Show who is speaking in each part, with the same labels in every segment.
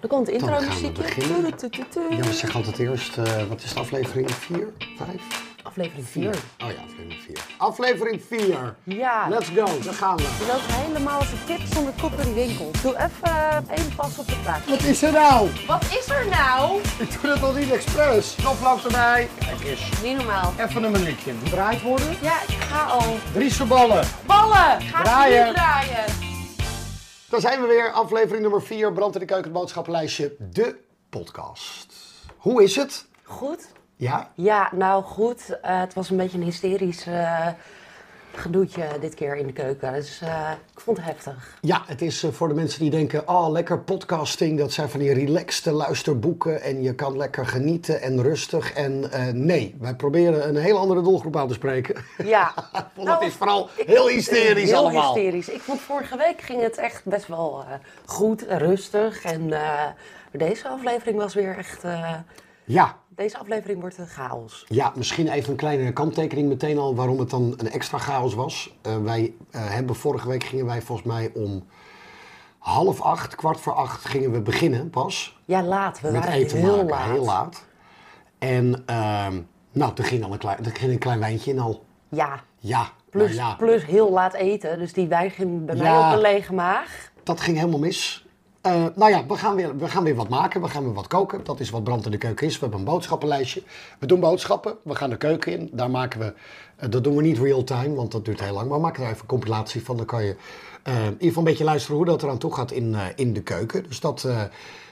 Speaker 1: Er komt
Speaker 2: Dan gaan we beginnen.
Speaker 1: intromuziekje.
Speaker 2: Joost zegt altijd eerst, eh, wat is de aflevering? 4, 5?
Speaker 1: Aflevering
Speaker 2: 4.
Speaker 1: 4.
Speaker 2: Oh ja, aflevering 4. Aflevering 4.
Speaker 1: Ja.
Speaker 2: Let's go, daar gaan we.
Speaker 1: Je loopt helemaal als een kip zonder kop in de winkel. Doe even eh, één pas op de plaats.
Speaker 2: Wat is er nou?
Speaker 1: Wat is er nou?
Speaker 2: Ik doe dat al niet expres. Knoflook erbij. Kijk eens.
Speaker 1: Niet normaal.
Speaker 2: Even een minuutje. Draait worden.
Speaker 1: Ja, ik ga al.
Speaker 2: Driese ballen.
Speaker 1: Ballen! Ga
Speaker 2: Draaien.
Speaker 1: ze niet draaien.
Speaker 2: Daar zijn we weer. Aflevering nummer 4. Brand in de keuken, het boodschappenlijstje. De podcast. Hoe is het?
Speaker 1: Goed?
Speaker 2: Ja?
Speaker 1: Ja, nou goed. Eh, het was een beetje een hysterisch eh, gedoetje dit keer in de keuken. Dus eh, ik vond het heftig.
Speaker 2: Ja, het is eh, voor de mensen die denken, ah, lekker podcasting. Dat zijn van die relaxte luisterboeken en je kan lekker genieten en rustig. En eh, nee, wij proberen een heel andere doelgroep aan te spreken.
Speaker 1: Ja.
Speaker 2: Want
Speaker 1: Nou,
Speaker 2: het is vooral heel hysterisch
Speaker 1: heel
Speaker 2: allemaal.
Speaker 1: hysterisch. Ik vond vorige week ging het echt best wel eh, goed en rustig. En eh, deze aflevering was weer echt... eh,
Speaker 2: Ja,
Speaker 1: deze aflevering wordt een chaos.
Speaker 2: ja, misschien even een kleine kanttekening meteen al waarom het dan een extra chaos was. Eh, wij eh, hebben vorige week gingen wij volgens mij om half acht, kwart voor acht gingen we beginnen pas.
Speaker 1: Ja, laat. We
Speaker 2: met
Speaker 1: waren
Speaker 2: eten
Speaker 1: heel
Speaker 2: maken,
Speaker 1: laat.
Speaker 2: heel laat. En ehm, nou, er ging al een klein, er ging een klein wijntje in al.
Speaker 1: Ja.
Speaker 2: Ja,
Speaker 1: Plus,
Speaker 2: nou ja,
Speaker 1: plus heel laat eten. Dus die wijn ging bij mij
Speaker 2: Ja.
Speaker 1: op een lege maag.
Speaker 2: dat ging helemaal mis. Eh, nou ja, we gaan, weer, we gaan weer wat maken, we gaan weer wat koken. Dat is wat Brand in de Keuken is. We hebben een boodschappenlijstje. We doen boodschappen, we gaan de keuken in. Daar maken we, eh, dat doen we niet real-time, want dat duurt heel lang. Maar we maken daar even een compilatie van. Dan kan je eh, in ieder geval een beetje luisteren hoe dat eraan toe gaat in, eh, in de keuken. Dus dat eh,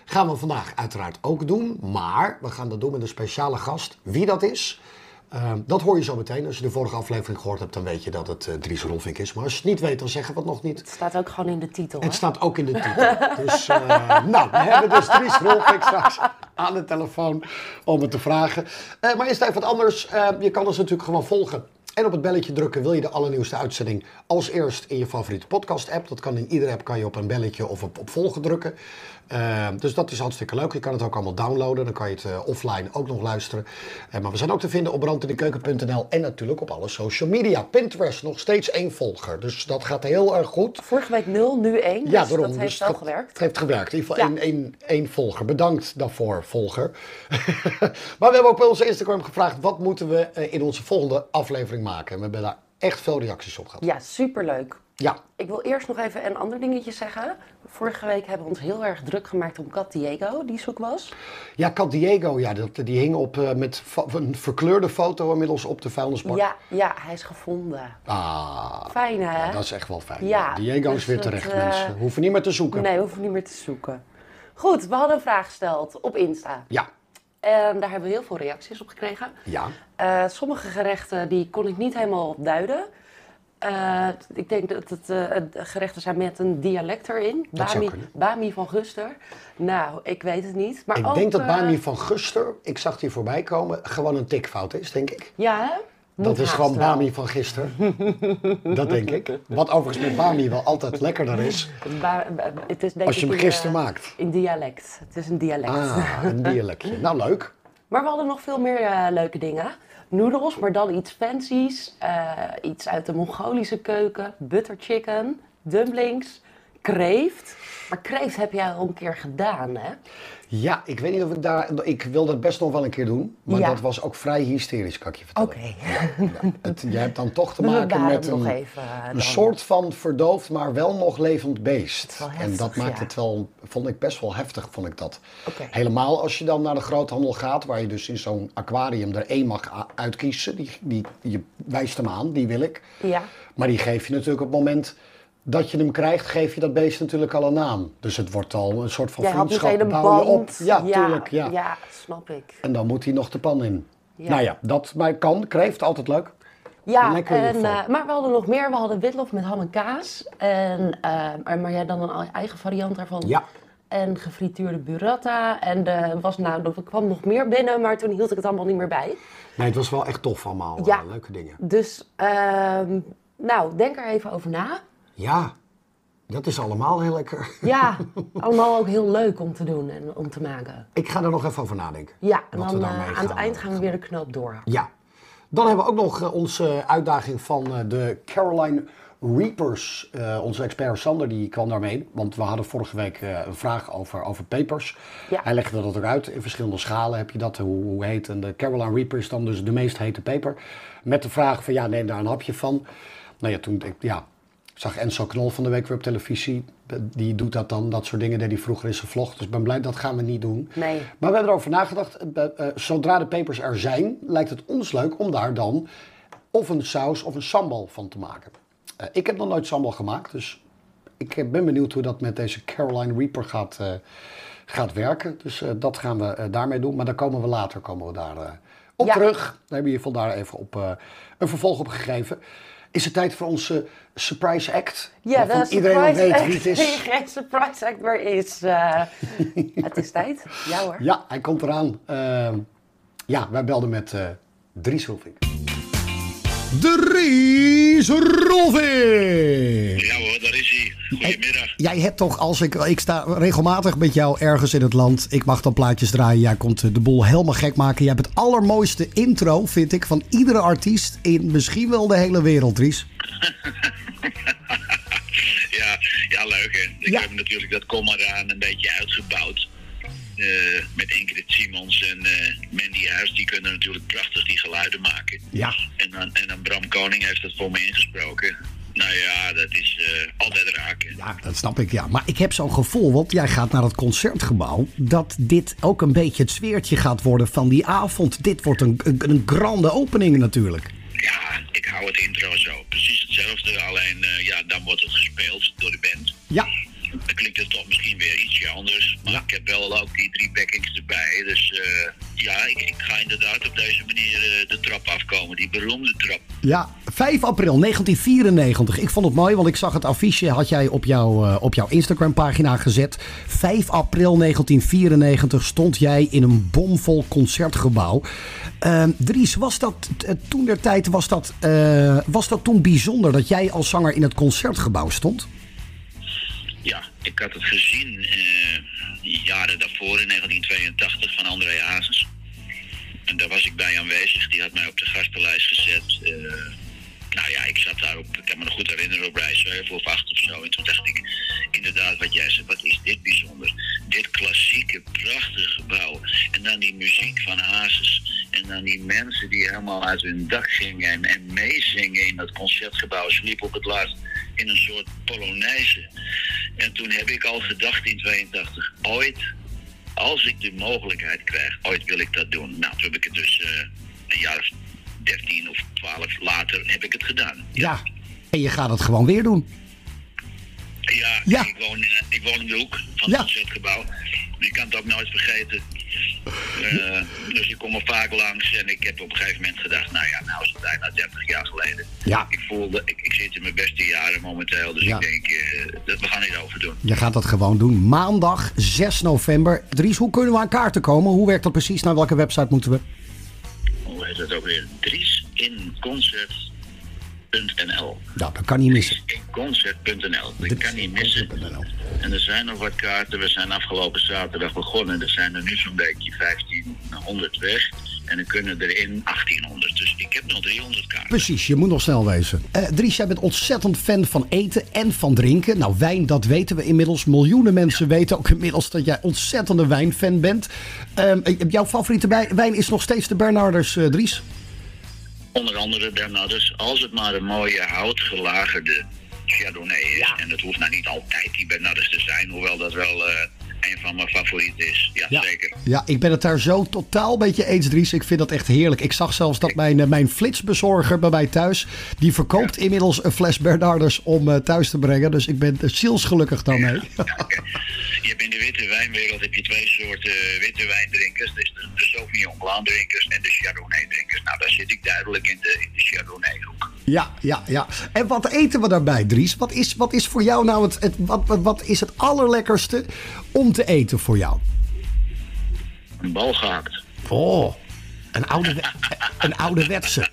Speaker 2: gaan we vandaag uiteraard ook doen. Maar we gaan dat doen met een speciale gast. Wie dat is, Eh, dat hoor je zo meteen. Als je de vorige aflevering gehoord hebt, dan weet je dat het eh, Dries Rolfink is. Maar als je het niet weet, dan zeggen we het nog niet.
Speaker 1: Het staat ook gewoon in de titel. hè?
Speaker 2: Het staat ook in de titel. Dus eh, nou, we hebben dus Dries Rolfink straks aan de telefoon om het te vragen. Eh, maar eerst even wat anders. Eh, je kan ons natuurlijk gewoon volgen. En op het belletje drukken wil je de allernieuwste uitzending als eerst in je favoriete podcast app. Dat kan in iedere app, kan je op een belletje of op, op volgen drukken. Eh, dus dat is hartstikke leuk. Je kan het ook allemaal downloaden. Dan kan je het eh, offline ook nog luisteren. Eh, maar we zijn ook te vinden op brandindekeuken.nl en natuurlijk op alle social media. Pinterest nog steeds één volger. Dus dat gaat heel erg goed.
Speaker 1: Vorige week 0, nu 1. Dus dat heeft
Speaker 2: Dus
Speaker 1: wel
Speaker 2: het-
Speaker 1: gewerkt.
Speaker 2: Het heeft gewerkt. In ieder geval
Speaker 1: Ja.
Speaker 2: één, één, één volger. Bedankt daarvoor, volger. maar we hebben ook bij onze Instagram gevraagd... wat moeten we eh, in onze volgende aflevering maken? En we hebben daar echt veel reacties op gehad.
Speaker 1: Ja, superleuk.
Speaker 2: Ja,
Speaker 1: Ik wil eerst nog even een ander dingetje zeggen. Vorige week hebben we ons heel erg druk gemaakt om Cat Diego, die zoek was.
Speaker 2: ja Cat Diego, ja, dat, die hing op, eh, met fo- een verkleurde foto inmiddels op de vuilnisbak.
Speaker 1: Ja, ja, hij is gevonden.
Speaker 2: Ah,
Speaker 1: Fijn hè?
Speaker 2: dat is echt wel fijn.
Speaker 1: Ja,
Speaker 2: Diego
Speaker 1: dus
Speaker 2: is weer
Speaker 1: dat,
Speaker 2: terecht,
Speaker 1: eh,
Speaker 2: mensen. Hoeven niet meer te zoeken.
Speaker 1: Nee, we hoeven niet meer te zoeken. Goed, we hadden een vraag gesteld op Insta.
Speaker 2: Ja,
Speaker 1: En daar hebben we heel veel reacties op gekregen.
Speaker 2: ja.
Speaker 1: Eh, sommige gerechten die kon ik niet helemaal duiden. Eh, ik denk dat het eh, het gerechten zijn met een dialect erin.
Speaker 2: Dat zou
Speaker 1: Bami,
Speaker 2: kunnen.
Speaker 1: Bami van Guster. Nou, ik weet het niet. Maar
Speaker 2: Ik
Speaker 1: ook,
Speaker 2: denk dat
Speaker 1: eh,
Speaker 2: Bami van Guster, ik zag die voorbij komen, gewoon een tikfout is, denk ik.
Speaker 1: Ja, hè? Moet
Speaker 2: Dat is
Speaker 1: haast
Speaker 2: gewoon
Speaker 1: wel.
Speaker 2: Bami van gisteren. Dat denk ik. Wat overigens met Bami wel altijd lekkerder is.
Speaker 1: Ba- ba- het is denk
Speaker 2: Als je
Speaker 1: ik
Speaker 2: hem
Speaker 1: in,
Speaker 2: gisteren
Speaker 1: eh,
Speaker 2: maakt.
Speaker 1: In dialect. Het is een dialect.
Speaker 2: Ah, een dierlijkje. Nou, leuk.
Speaker 1: Maar we hadden nog veel meer eh, leuke dingen. Noedels, maar dan iets fancies. eh, iets uit de Mongolische keuken. Butter chicken, dumplings, kreeft. Maar kreeft heb jij al een keer gedaan, hè?
Speaker 2: Ja, ik weet niet of ik daar... Ik wil dat best nog wel een keer doen. Maar
Speaker 1: Ja.
Speaker 2: dat was ook vrij hysterisch, kan ik je vertellen.
Speaker 1: Oké.
Speaker 2: Ja, het, je hebt dan toch te
Speaker 1: We
Speaker 2: maken
Speaker 1: bewaren
Speaker 2: met
Speaker 1: hem nog
Speaker 2: een,
Speaker 1: even, eh,
Speaker 2: een
Speaker 1: dan.
Speaker 2: soort van verdoofd, maar wel nog levend beest.
Speaker 1: wel
Speaker 2: en dat
Speaker 1: heftig,
Speaker 2: maakt
Speaker 1: ja.
Speaker 2: het wel, vond ik best wel heftig, vond ik dat.
Speaker 1: Oké.
Speaker 2: Helemaal als je dan naar de groothandel gaat, waar je dus in zo'n aquarium er één mag a- uitkiezen. Die, die, je wijst hem aan, die wil ik.
Speaker 1: Ja.
Speaker 2: Maar die geef je natuurlijk op het moment dat je hem krijgt, geef je dat beest natuurlijk al een naam. Dus het wordt al een soort van
Speaker 1: Jij had
Speaker 2: vriendschap.
Speaker 1: meteen een
Speaker 2: bouw je
Speaker 1: band.
Speaker 2: op. Ja, tuurlijk. Ja.
Speaker 1: Ja, snap ik.
Speaker 2: En dan moet hij nog de pan in.
Speaker 1: Ja.
Speaker 2: Nou ja, dat maar kan. Kreeft, altijd leuk.
Speaker 1: Ja,
Speaker 2: Lekker in ieder
Speaker 1: en,
Speaker 2: geval.
Speaker 1: eh, maar we hadden nog meer. We hadden witlof met ham en kaas. En, eh, maar maar jij dan een eigen variant daarvan.
Speaker 2: Ja.
Speaker 1: En gefrituurde burrata. En eh, was, nou, er kwam nog meer binnen, maar toen hield ik het allemaal niet meer bij.
Speaker 2: Nee, het was wel echt tof allemaal.
Speaker 1: Ja.
Speaker 2: eh, leuke dingen.
Speaker 1: Dus, ehm, nou, denk er even over na.
Speaker 2: Ja, dat is allemaal heel lekker.
Speaker 1: Ja, allemaal ook heel leuk om te doen en om te maken.
Speaker 2: Ik ga er nog even over nadenken.
Speaker 1: Ja, en
Speaker 2: Wat we
Speaker 1: dan eh,
Speaker 2: daarmee
Speaker 1: aan het
Speaker 2: gaan,
Speaker 1: eind
Speaker 2: eh,
Speaker 1: gaan we weer de knoop door.
Speaker 2: Ja. Dan hebben we ook nog eh, onze uitdaging van eh, de Caroline Reapers. Eh, onze expert Sander die kwam daarmee, want we hadden vorige week eh, een vraag over, over pepers.
Speaker 1: Ja.
Speaker 2: Hij legde dat ook uit. In verschillende schalen heb je dat, hoe, hoe heet. En de Carolina Reaper is dan dus de meest hete peper. Met de vraag van ja, neem daar een hapje van. Nou ja, toen ik, ja, zag Enzo Knol van de week weer op televisie. Die doet dat dan, dat soort dingen deed hij vroeger in zijn vlog. Dus ik ben blij, dat gaan we niet doen.
Speaker 1: Nee.
Speaker 2: Maar we hebben erover nagedacht. eh, eh, zodra de pepers er zijn, lijkt het ons leuk om daar dan of een saus of een sambal van te maken. Eh, ik heb nog nooit sambal gemaakt, dus ik eh, ben benieuwd hoe dat met deze Caroline Reaper gaat, eh, gaat werken. Dus eh, dat gaan we eh, daarmee doen. Maar daar komen we later komen we daar, eh, op
Speaker 1: Ja.
Speaker 2: terug. Daar hebben we in ieder geval daar even op, eh, een vervolg op gegeven. Is het tijd voor onze surprise act?
Speaker 1: Ja,
Speaker 2: Waarvan
Speaker 1: de
Speaker 2: iedereen al
Speaker 1: surprise
Speaker 2: weet
Speaker 1: act.
Speaker 2: wie het is.
Speaker 1: Geen surprise act meer is. eh, het is tijd. Ja hoor.
Speaker 2: Ja, hij komt eraan. Ehm, ja, wij belden met eh Dries Hulvink.
Speaker 3: Dries Rolving.
Speaker 4: Ja hoor, daar is hij. Goedemiddag.
Speaker 3: Jij hebt toch, als ik, ik sta regelmatig met jou ergens in het land. Ik mag dan plaatjes draaien. Jij komt eh, de boel helemaal gek maken. Jij hebt het allermooiste intro, vind ik, van iedere artiest in misschien wel de hele wereld, Dries.
Speaker 4: Ja, ja leuk hè. Ik
Speaker 3: Ja.
Speaker 4: heb natuurlijk dat kom eraan een beetje uitgebouwd. Eh, met Ingrid Simons en eh, Mandy Huis, die kunnen natuurlijk prachtig die geluiden maken.
Speaker 3: Ja.
Speaker 4: En dan, en dan Bram Koning heeft dat voor me ingesproken. Nou ja, dat is eh, altijd raken.
Speaker 3: Ja, dat snap ik, ja. Maar ik heb zo'n gevoel, want jij gaat naar het concertgebouw, dat dit ook een beetje het sfeertje gaat worden van die avond. Dit wordt een, een, een grande opening natuurlijk.
Speaker 4: Ja, ik hou het intro zo. Precies hetzelfde, alleen eh, ja, dan wordt het gespeeld door de band.
Speaker 3: Ja,
Speaker 4: Dan klinkt het toch misschien weer ietsje anders. Maar ik heb wel ook die drie backings erbij. Dus eh, ja, ik, ik ga inderdaad op deze manier eh, de trap afkomen. Die beroemde trap.
Speaker 3: Ja, 5 april 1994. Ik vond het mooi, want ik zag het affiche had jij op, jouw eh, op jouw Instagram-pagina gezet. 5 april 1994 stond jij in een bomvol concertgebouw. Ehm, Dries, was dat eh, toen der tijd, was dat, eh, was dat toen bijzonder dat jij als zanger in het concertgebouw stond?
Speaker 4: Ja, ik had het gezien eh, die jaren daarvoor in 1982 van André Hazes. En daar was ik bij aanwezig. Die had mij op de gastenlijst gezet. Eh, nou ja, ik zat daar op, ik kan me nog goed herinneren, op rij 7 of 8 of zo. En toen dacht ik, inderdaad, wat jij zegt, wat is dit bijzonder? Dit klassieke, prachtige gebouw. En dan die muziek van Hazes. En dan die mensen die helemaal uit hun dak gingen en, en meezingen in dat concertgebouw. Ze liepen op het laatst in een soort polonaise. En toen heb ik al gedacht in 82, ooit als ik de mogelijkheid krijg, ooit wil ik dat doen. Nou, toen heb ik het dus eh, een jaar of 13 of 12 later heb ik het gedaan.
Speaker 3: Ja. En je gaat het gewoon weer doen.
Speaker 4: Ja,
Speaker 3: Ja.
Speaker 4: Ik, woon, eh, ik woon in de hoek
Speaker 3: Ja.
Speaker 4: van het concertgebouw. Je kan het ook nooit vergeten. Eh, dus ik kom er vaak langs en ik heb op een gegeven moment gedacht, nou ja, nou is het bijna 30 jaar geleden.
Speaker 3: Ja.
Speaker 4: Ik voelde, ik, ik zit in mijn beste jaren momenteel, dus
Speaker 3: Ja.
Speaker 4: ik denk, eh, dat we gaan dit over doen.
Speaker 3: Je gaat dat gewoon doen. Maandag 6 november. Dries, hoe kunnen we aan kaarten komen? Hoe werkt dat precies? Naar welke website moeten we?
Speaker 4: Hoe heet dat ook weer? Driesinconcert.nl
Speaker 3: Nou, dat kan niet missen.
Speaker 4: Concert.nl. Ik kan niet missen.
Speaker 3: Concert.nl.
Speaker 4: En er zijn nog wat kaarten. We zijn afgelopen zaterdag begonnen. Er zijn er nu zo'n beetje 1500 weg. En er kunnen er in 1800. Dus ik heb nog 300 kaarten.
Speaker 3: Precies, je moet nog snel wezen. Eh, Dries, jij bent ontzettend fan van eten en van drinken. Nou, wijn, dat weten we inmiddels. Miljoenen mensen weten ook inmiddels dat jij ontzettende wijnfan bent. Ehm, eh, jouw favoriete bij- wijn is nog steeds de Bernarders, eh, Dries.
Speaker 4: Onder andere Bernardus. Als het maar een mooie houtgelagerde Chardonnay is. En dat hoeft nou niet altijd die Bernardus te zijn. Hoewel dat wel eh, een van mijn favorieten is. Ja, zeker.
Speaker 3: Ja, ik ben het daar zo totaal met je eens, Dries. Ik vind dat echt heerlijk. Ik zag zelfs dat mijn, eh, mijn flitsbezorger bij mij thuis... die verkoopt inmiddels een fles Bernarders om eh, thuis te brengen. Dus ik ben eh, zielsgelukkig daarmee.
Speaker 4: Je hebt in de witte wijnwereld heb je twee soorten eh, witte wijndrinkers. Dus de, de Sauvignon Blanc drinkers en de Chardonnay drinkers. Nou, daar zit ik duidelijk in de, in de Chardonnay hoek.
Speaker 3: Ja, ja, ja. En wat eten we daarbij, Dries? Wat is, wat is voor jou nou het, het wat, wat, wat is het allerlekkerste om te eten voor jou?
Speaker 4: Een bal gehakt.
Speaker 3: Oh, een, oude, een ouderwetse.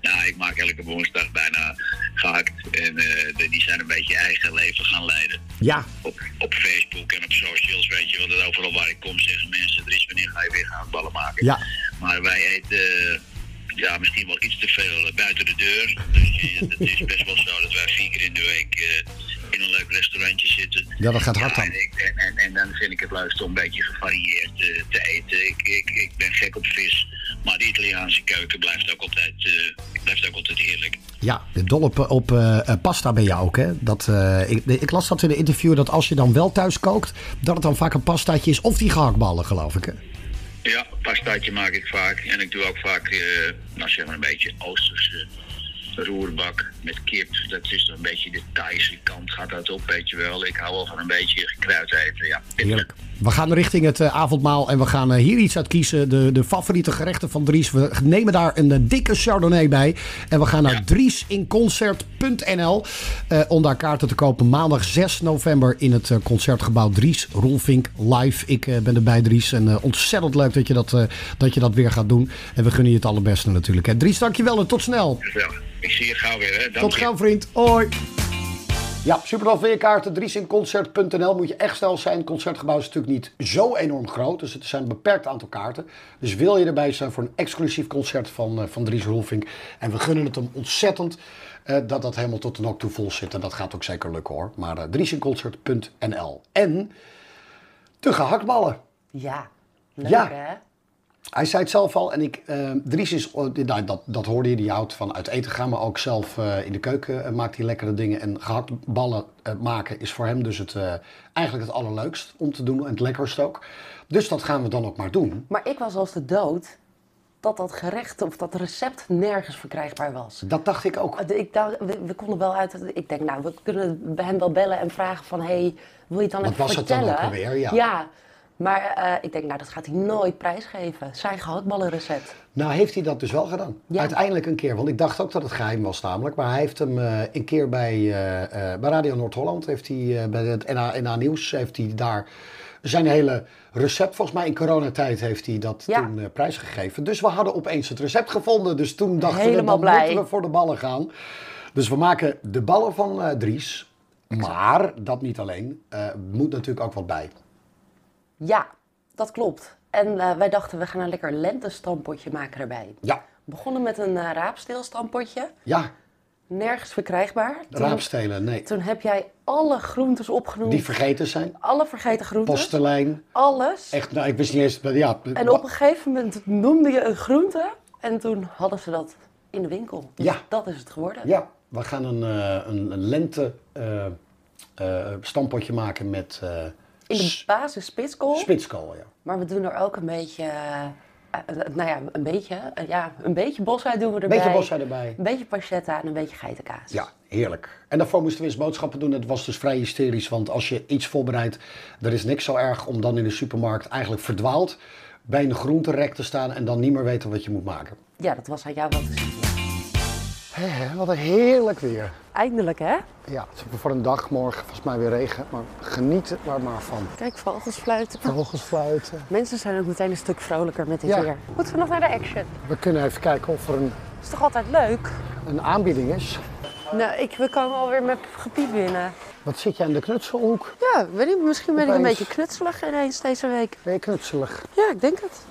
Speaker 4: Nou, ik maak elke woensdag bijna gehakt. En eh, de- die zijn een beetje eigen leven gaan leiden.
Speaker 3: Ja,
Speaker 4: Op, op Facebook en op socials, weet je. Want het overal waar ik kom zeggen mensen, er is wanneer ga je weer gaan ballen maken.
Speaker 3: Ja.
Speaker 4: Maar wij eten eh, ja, misschien wel iets te veel bijbels buiten de deur. Dus eh, het is best wel zo dat wij vier keer in de week eh, in een leuk restaurantje zitten.
Speaker 3: Ja, dat gaat hard dan.
Speaker 4: en, ik- en, en, en dan vind ik het leukst om een beetje gevarieerd eh, te eten. Ik, ik, ik ben gek op vis, maar de Italiaanse keuken blijft ook altijd, eh, blijft ook altijd heerlijk.
Speaker 3: Ja, de dol op, op eh, eh, pasta ben je ook, hè? Dat, eh, ik, ik las dat in een interview dat als je dan wel thuis kookt, dat het dan vaak een pastaatje is of die gehaktballen, geloof ik. Hè?
Speaker 4: Ja, pastaatje maak ik vaak. En ik doe ook vaak eh, nou zeg maar een beetje Oosterse roerbak met kip. Dat is dan een beetje de Thaise kant gaat dat op, weet je wel. Ik hou wel van een beetje gekruid eten, ja.
Speaker 3: Heerlijk. We gaan richting het eh, avondmaal en we gaan eh, hier iets uit kiezen. De, de favoriete gerechten van Dries. We nemen daar een eh, dikke chardonnay bij. En we gaan naar driesinconcert.nl eh, om daar kaarten te kopen. Maandag 6 november in het eh, concertgebouw Dries Rolfink live. Ik eh, ben erbij Dries en eh, ontzettend leuk dat je dat, eh, dat je dat weer gaat doen. En we gunnen je het allerbeste natuurlijk. Hè. Dries, dankjewel en tot snel.
Speaker 4: Gezellig. Ik zie je gauw weer, hè. Dank
Speaker 3: Tot
Speaker 4: je.
Speaker 3: gauw vriend. Hoi.
Speaker 2: Ja, supertof weerkaarten. Driesinconcert.nl moet je echt snel zijn. Het concertgebouw is natuurlijk niet zo enorm groot. Dus het zijn een beperkt aantal kaarten. Dus wil je erbij zijn voor een exclusief concert van, eh, van Dries Rolfink. En we gunnen het hem ontzettend eh, dat dat helemaal tot de nok toe vol zit. En dat gaat ook zeker lukken hoor. Maar eh driesinconcert.nl. En de gehaktballen.
Speaker 1: Ja, leuk
Speaker 2: Ja.
Speaker 1: hè?
Speaker 2: Hij zei het zelf al en ik, eh, Dries is, oh, dit- nou, dat, dat hoorde je, die houdt van uit eten gaan, maar ook zelf eh, in de keuken eh, maakt hij lekkere dingen. En gehaktballen eh, maken is voor hem dus het, eh, eigenlijk het allerleukst om te doen en het lekkerst ook. Dus dat gaan we dan ook maar doen.
Speaker 1: Maar ik was als de dood dat dat gerecht of dat recept nergens verkrijgbaar was.
Speaker 2: Dat dacht ik ook.
Speaker 1: Ik dacht, we, we konden wel uit. Ik denk, nou, we kunnen bij hem wel bellen en vragen van, hey, wil je het dan
Speaker 2: Wat
Speaker 1: even
Speaker 2: was het dan
Speaker 1: vertellen?
Speaker 2: ook alweer? Ja.
Speaker 1: Maar eh, ik denk, nou, dat gaat hij nooit prijsgeven. Zijn gehaktballenrecept.
Speaker 2: Nou heeft hij dat dus wel gedaan.
Speaker 1: Ja.
Speaker 2: Uiteindelijk een keer, want ik dacht ook dat het geheim was namelijk. Maar hij heeft hem eh, een keer bij, eh, eh, bij Radio Noord-Holland, heeft hij, eh, bij het NH, NH Nieuws, heeft hij daar zijn hele recept, volgens mij in coronatijd heeft hij dat
Speaker 1: Ja.
Speaker 2: toen eh, prijsgegeven. Dus we hadden opeens het recept gevonden. Dus toen dachten we,
Speaker 1: Helemaal
Speaker 2: dan
Speaker 1: blij.
Speaker 2: moeten we voor de ballen gaan. Dus we maken de ballen van eh, Dries. Maar, dat niet alleen, eh, moet natuurlijk ook wat bij.
Speaker 1: Ja, dat klopt. En eh, wij dachten, we gaan een lekker lentestampotje maken erbij.
Speaker 2: Ja,
Speaker 1: We begonnen met een eh, raapsteelstampotje.
Speaker 2: ja,
Speaker 1: Nergens verkrijgbaar. Toen-
Speaker 2: raapstelen, nee.
Speaker 1: Toen heb jij alle groentes opgenoemd.
Speaker 2: Die vergeten zijn.
Speaker 1: alle vergeten groenten.
Speaker 2: Postelijn.
Speaker 1: Alles.
Speaker 2: Echt, nou, ik wist niet eens. Ja,
Speaker 1: En op een gegeven moment noemde je een groente. En toen hadden ze dat in de winkel. Dus
Speaker 2: Ja.
Speaker 1: dat is het geworden.
Speaker 2: ja we gaan een, eh, een, een lente eh, eh, stampotje maken met eh,
Speaker 1: In de
Speaker 2: s-
Speaker 1: basis spitskool.
Speaker 2: spitskool. Ja.
Speaker 1: maar we doen er ook een beetje... eh, eh, nou ja, een beetje. eh, ja, een beetje bosheid doen we erbij.
Speaker 2: Beetje bosheid erbij.
Speaker 1: Een beetje pancetta en een beetje geitenkaas.
Speaker 2: ja, heerlijk. En daarvoor moesten we eens boodschappen doen. Het was dus vrij hysterisch, want als je iets voorbereidt, er is niks zo erg om dan in de supermarkt eigenlijk verdwaald bij een groenterek te staan en dan niet meer weten wat je moet maken.
Speaker 1: Ja, dat was aan jou wel te zien.
Speaker 2: Hè, wat een heerlijk weer.
Speaker 1: Eindelijk, hè?
Speaker 2: Ja, het is voor een dag morgen volgens mij weer regen, maar geniet er maar, maar van.
Speaker 1: Kijk, vogels fluiten.
Speaker 2: Vogels fluiten.
Speaker 1: Mensen zijn ook meteen een stuk vrolijker met dit
Speaker 2: Ja.
Speaker 1: weer. Moeten we nog naar de action?
Speaker 2: We kunnen even kijken of er een,
Speaker 1: Is toch altijd leuk?
Speaker 2: een aanbieding is.
Speaker 1: Nou, ik, we komen alweer met gepiep binnen.
Speaker 2: Wat zit jij in de knutselhoek?
Speaker 1: Ja, weet niet, misschien ben ik een
Speaker 2: Opeens.
Speaker 1: beetje knutselig ineens deze week.
Speaker 2: Ben je knutselig?
Speaker 1: Ja, ik denk het.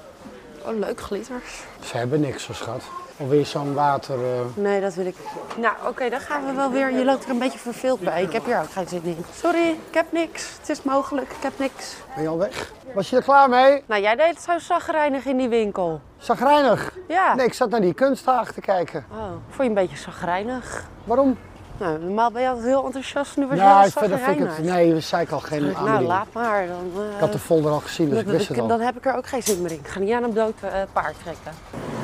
Speaker 1: Oh, leuk glitters.
Speaker 2: Ze hebben niks, hoor, schat. Of weer zo'n water... eh,
Speaker 1: Nee, dat wil ik niet. Nou, oké, dan gaan we wel weer. Je loopt er een beetje verveeld bij. Ik heb hier ook geen zin in. Sorry, ik heb niks. Het is mogelijk, ik heb niks.
Speaker 2: Ben je al weg? Was je er klaar mee?
Speaker 1: Nou, jij deed het zo zagrijnig in die winkel.
Speaker 2: Zagrijnig?
Speaker 1: Ja.
Speaker 2: Nee, ik zat naar die kunsthaag te kijken.
Speaker 1: Oh, vond je een beetje zagrijnig?
Speaker 2: Waarom?
Speaker 1: Nou, normaal ben je altijd heel enthousiast. Nu was je
Speaker 2: Ja,
Speaker 1: heel
Speaker 2: verder vind ik
Speaker 1: zagrijnig.
Speaker 2: het... Nee, we zei ik al geen
Speaker 1: nou,
Speaker 2: aanbieding.
Speaker 1: laat maar. Dan, eh,
Speaker 2: Ik had de folder al gezien, dus ik
Speaker 1: Dat-
Speaker 2: wist
Speaker 1: dat-
Speaker 2: het al.
Speaker 1: Dan heb ik er ook geen zin meer in. Ik ga niet aan een dood eh, paard trekken.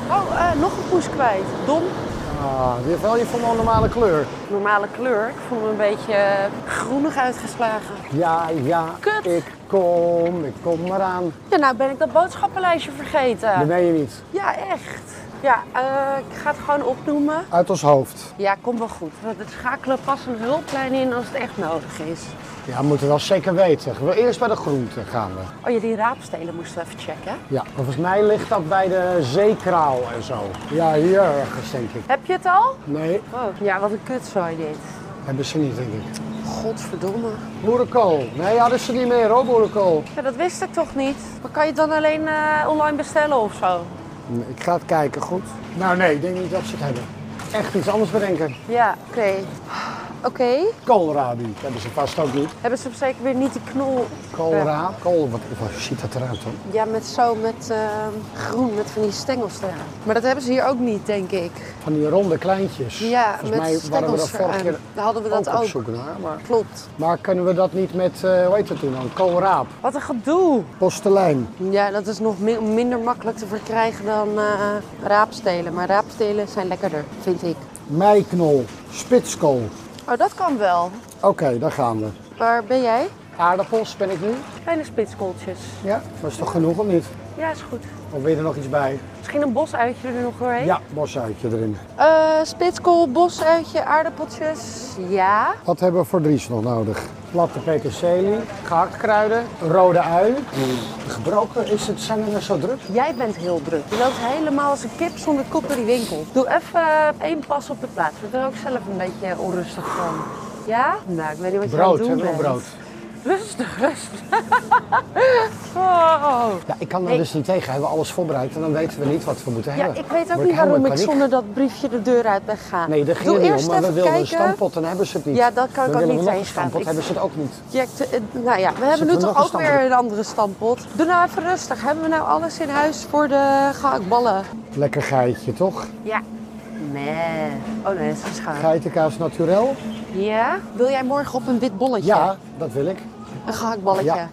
Speaker 1: Oh, eh, nog een poes kwijt. Dom.
Speaker 2: Ah, die heeft wel je van een normale kleur.
Speaker 1: Normale kleur. Ik voel me een beetje eh, groenig uitgeslagen.
Speaker 2: Ja, ja,
Speaker 1: Kut.
Speaker 2: ik kom, ik kom maar aan.
Speaker 1: Ja, nou ben ik dat boodschappenlijstje
Speaker 2: Dat
Speaker 1: vergeten.
Speaker 2: ben je niet.
Speaker 1: Ja, echt. Ja, eh, ik ga het gewoon opnoemen.
Speaker 2: Uit ons hoofd.
Speaker 1: Ja, komt wel goed. We schakelen pas een hulplijn in als het echt nodig is.
Speaker 2: Ja, we moeten wel zeker weten. We- Eerst bij de groenten gaan we.
Speaker 1: Oh ja, die raapstelen moesten we even checken.
Speaker 2: Ja, volgens mij ligt dat bij de zeekraal en zo. Ja, hier ergens denk ik.
Speaker 1: Heb je het al?
Speaker 2: Nee,
Speaker 1: Oh, ja, wat een kutzooi dit.
Speaker 2: hebben ze niet denk ik.
Speaker 1: Godverdomme.
Speaker 2: Boerenkool. Nee, hadden ze niet meer hoor, boerenkool.
Speaker 1: Ja, dat wist ik toch niet? Maar kan je het dan alleen eh, online bestellen of zo?
Speaker 2: Ik ga het kijken, goed? Nou nee, ik denk niet dat ze het hebben. echt iets anders bedenken.
Speaker 5: Ja, oké. Oké.
Speaker 2: Koolrabi die hebben ze vast ook niet.
Speaker 5: Hebben ze zeker weer niet die knol?
Speaker 2: Koolra, kool, wat, wat ziet dat eruit hoor?
Speaker 5: Ja, met zo, met ehm, groen, met van die stengels eraan. Maar dat hebben ze hier ook niet, denk ik.
Speaker 2: Van die ronde kleintjes.
Speaker 5: Ja,
Speaker 2: Volgens
Speaker 5: met
Speaker 2: mij waren we
Speaker 5: stengels
Speaker 2: dat vorige
Speaker 5: eraan.
Speaker 2: keer
Speaker 5: Daar hadden we dat
Speaker 2: op
Speaker 5: ook.
Speaker 2: zoek naar. Maar,
Speaker 5: Klopt.
Speaker 2: maar kunnen we dat niet met, eh hoe heet het toen dan? Koolraap,
Speaker 5: Wat een gedoe.
Speaker 2: postelijn.
Speaker 5: Ja, dat is nog mi- minder makkelijk te verkrijgen dan eh, raapstelen. Maar raapstelen zijn lekkerder, vind ik.
Speaker 2: Meiknol, spitskool.
Speaker 5: Oh, dat kan wel.
Speaker 2: Oké, daar gaan we.
Speaker 5: Waar ben jij?
Speaker 2: Aardappels ben ik nu.
Speaker 5: Kleine spitskooltjes.
Speaker 2: Ja, dat is toch genoeg of niet?
Speaker 5: Ja, is goed.
Speaker 2: Of wil je er nog iets bij?
Speaker 1: Misschien een bosuitje er nog doorheen?
Speaker 2: Ja, bosuitje erin.
Speaker 5: Eh, spitskool, bosuitje, aardappeltjes. Ja.
Speaker 2: Wat hebben we voor Dries nog nodig? Platte peterselie, gehaktkruiden, rode ui. Gebroken is het, zijn we net zo druk?
Speaker 5: Jij bent heel druk. Je loopt helemaal als een kip zonder kop door die winkel.
Speaker 1: Doe even eh, één pas op de plaats. Ik ben er ook zelf een beetje onrustig van.
Speaker 5: Ja? Nou, ik weet niet wat je aan
Speaker 2: Brood,
Speaker 5: het doen
Speaker 2: hebben we
Speaker 5: bent.
Speaker 2: nog brood?
Speaker 1: Rustig, rustig. Oh.
Speaker 2: Ja, ik kan er dus niet tegen. Hebben we alles voorbereid en dan weten we niet wat we moeten
Speaker 5: Ja,
Speaker 2: hebben.
Speaker 5: ik weet ook
Speaker 2: Word
Speaker 5: niet
Speaker 2: helemaal
Speaker 5: waarom ik
Speaker 2: paniek.
Speaker 5: zonder dat briefje de deur uit ben gegaan.
Speaker 2: Nee, daar ging
Speaker 5: Doe
Speaker 2: het niet
Speaker 5: eerst
Speaker 2: om, maar we
Speaker 5: even
Speaker 2: wilden een
Speaker 5: kijken.
Speaker 2: stampot en hebben ze het niet.
Speaker 5: Ja, dat kan ik
Speaker 2: we
Speaker 5: ook
Speaker 2: willen
Speaker 5: niet
Speaker 2: nog een
Speaker 5: tegengaan.
Speaker 2: stampot,
Speaker 5: Ik-
Speaker 2: hebben ze het ook niet.
Speaker 5: Ja, ik te- eh, nou ja, we hebben
Speaker 2: Zitten we
Speaker 5: nu
Speaker 2: nog
Speaker 5: toch
Speaker 2: een
Speaker 5: ook weer een andere stampot. Doe nou even rustig. Hebben we nou alles in huis voor de gehaktballen?
Speaker 2: Lekker geitje, toch?
Speaker 5: Ja. Nee. Oh nee, dat is geschaamd.
Speaker 2: Geitenkaas naturel?
Speaker 5: Ja? Wil jij morgen op een wit bolletje?
Speaker 2: Ja, dat wil ik.
Speaker 5: Een gehaktballetje?
Speaker 2: Ja.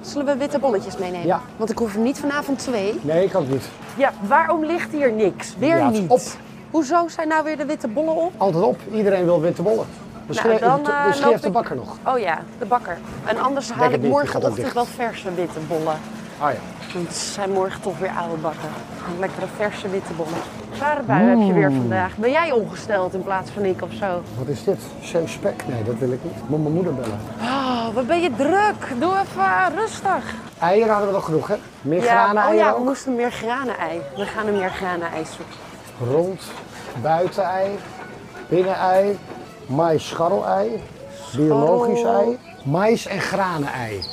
Speaker 5: Zullen we witte bolletjes meenemen?
Speaker 2: Ja.
Speaker 5: Want ik hoef er niet vanavond twee.
Speaker 2: Nee, ik ook niet.
Speaker 1: Ja, waarom ligt hier niks? Weer
Speaker 2: Ja, het is
Speaker 1: niet.
Speaker 2: op.
Speaker 5: Hoezo zijn nou weer de witte bollen op?
Speaker 2: Altijd op. Iedereen wil witte bollen. Misschien,
Speaker 1: Nou, dan, eh,
Speaker 2: misschien
Speaker 1: loop
Speaker 2: heeft de
Speaker 1: ik-
Speaker 2: bakker nog.
Speaker 1: Oh ja, de bakker. En anders haal
Speaker 2: Denk het
Speaker 1: ik
Speaker 2: niet, die gaat ook
Speaker 1: morgenochtend
Speaker 2: dicht.
Speaker 1: wel verse witte bollen.
Speaker 2: Ah ja.
Speaker 1: Want ze zijn morgen toch weer oude bakken. Lekkere verse witte bollen. Zware bui heb je weer
Speaker 5: Mm.
Speaker 1: vandaag. Ben jij ongesteld in plaats van ik of zo?
Speaker 2: Wat is dit? Zeespek? Nee, dat wil ik niet. Moet mijn moeder bellen.
Speaker 1: Oh,
Speaker 5: Ah,
Speaker 1: wat ben je druk. Doe even eh, rustig.
Speaker 2: Eieren hadden we nog genoeg, hè? Meer granen,
Speaker 1: ja, oh
Speaker 2: eieren
Speaker 1: ja, we
Speaker 2: ook.
Speaker 1: moesten meer granen-ei. We gaan een meer granen-ei zoeken.
Speaker 2: Rond, buitenei, binnenei, mais-scharrelei, biologisch ei, mais- en granenei.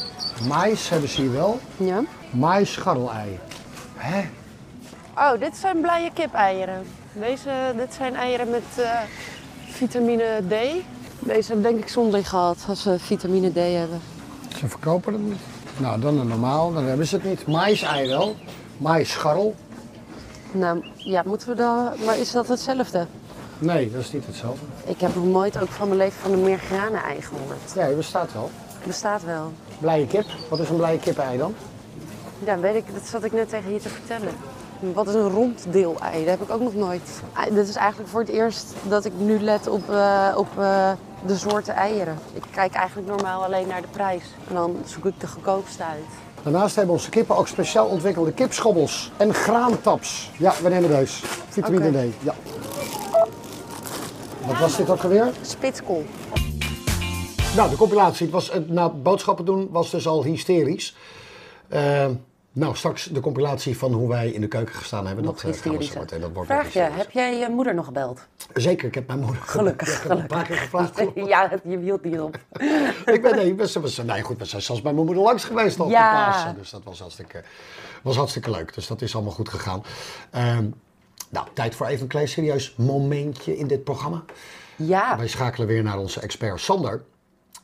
Speaker 2: Mais hebben ze hier wel,
Speaker 5: Ja.
Speaker 2: mais-scharrelei. Hè?
Speaker 1: Oh, dit zijn blije kip-eieren. Deze, dit zijn eieren met eh, vitamine D.
Speaker 5: Deze hebben denk ik zondag gehad, als we vitamine D hebben.
Speaker 2: Ze verkopen het niet. Nou, dan een normaal, dan hebben ze het niet. Mais-ei wel, mais-scharrel.
Speaker 5: Nou, ja, moeten we dan... Maar is dat hetzelfde?
Speaker 2: Nee, dat is niet hetzelfde.
Speaker 5: Ik heb nog nooit ook van mijn leven van een meergranen-ei gehoord.
Speaker 2: Nee, bestaat wel.
Speaker 5: Het bestaat wel.
Speaker 2: Blije kip. Wat is een blije kip-ei dan?
Speaker 5: Ja, weet ik, dat zat ik net tegen je te vertellen. Wat is een ronddeelei? Dat heb ik ook nog nooit. Ah, Dit is eigenlijk voor het eerst dat ik nu let op, eh, op eh, de soorten eieren. Ik kijk eigenlijk normaal alleen naar de prijs. En dan zoek ik de goedkoopste uit.
Speaker 2: Daarnaast hebben onze kippen ook speciaal ontwikkelde kipschobbels en graantaps. Ja, we nemen deze. Vitamine
Speaker 5: Oké.
Speaker 2: D. Ja. Wat was dit ook alweer?
Speaker 5: Spitskool.
Speaker 2: Nou, de compilatie. Het was, eh, na boodschappen doen was dus al hysterisch. Eh, nou, straks de compilatie van hoe wij in de keuken gestaan hebben.
Speaker 5: Nog
Speaker 2: eh, gaan we zo
Speaker 5: hysterischer.
Speaker 2: meteen. Dat wordt nog
Speaker 1: Vraag je,
Speaker 2: hysterisch.
Speaker 1: heb jij je moeder nog gebeld?
Speaker 2: Zeker, ik heb mijn moeder.
Speaker 1: Gelukkig,
Speaker 2: Ik heb haar een paar keer gevraagd.
Speaker 1: Ja, je hield niet op.
Speaker 2: ik ben, nee, we zijn, we zijn- nee, goed, we zijn zelfs bij mijn moeder langs geweest al
Speaker 1: Ja.
Speaker 2: op Pasen. Dus dat was hartstikke, was hartstikke leuk. Dus dat is allemaal goed gegaan. Ehm, nou, tijd voor even een klein serieus momentje in dit programma.
Speaker 1: Ja,
Speaker 2: Wij schakelen weer naar onze expert Sander.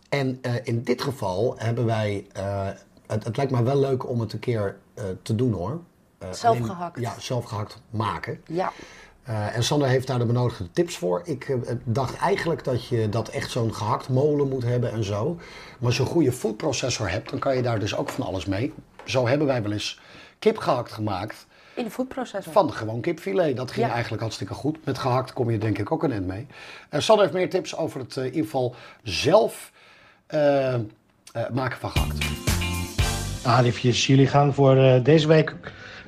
Speaker 2: En eh, in dit geval hebben wij... eh, het, het lijkt mij wel leuk om het een keer eh, te doen hoor. Eh,
Speaker 1: Zelf gehakt.
Speaker 2: Ja, zelfgehakt maken.
Speaker 1: ja.
Speaker 2: Eh, en Sander heeft daar de benodigde tips voor. Ik eh, dacht eigenlijk dat je dat echt zo'n gehakt molen moet hebben en zo. Maar als je een goede foodprocessor hebt, dan kan je daar dus ook van alles mee. Zo hebben wij wel eens kip gehakt gemaakt
Speaker 1: In de foodprocessor.
Speaker 2: van gewoon kipfilet. Dat ging
Speaker 1: Ja.
Speaker 2: eigenlijk hartstikke goed. Met gehakt kom je denk ik ook een end mee. En Sander heeft meer tips over het eh, in ieder geval zelf eh, eh, maken van gehakt.
Speaker 6: Arifjes, jullie gaan voor eh, deze week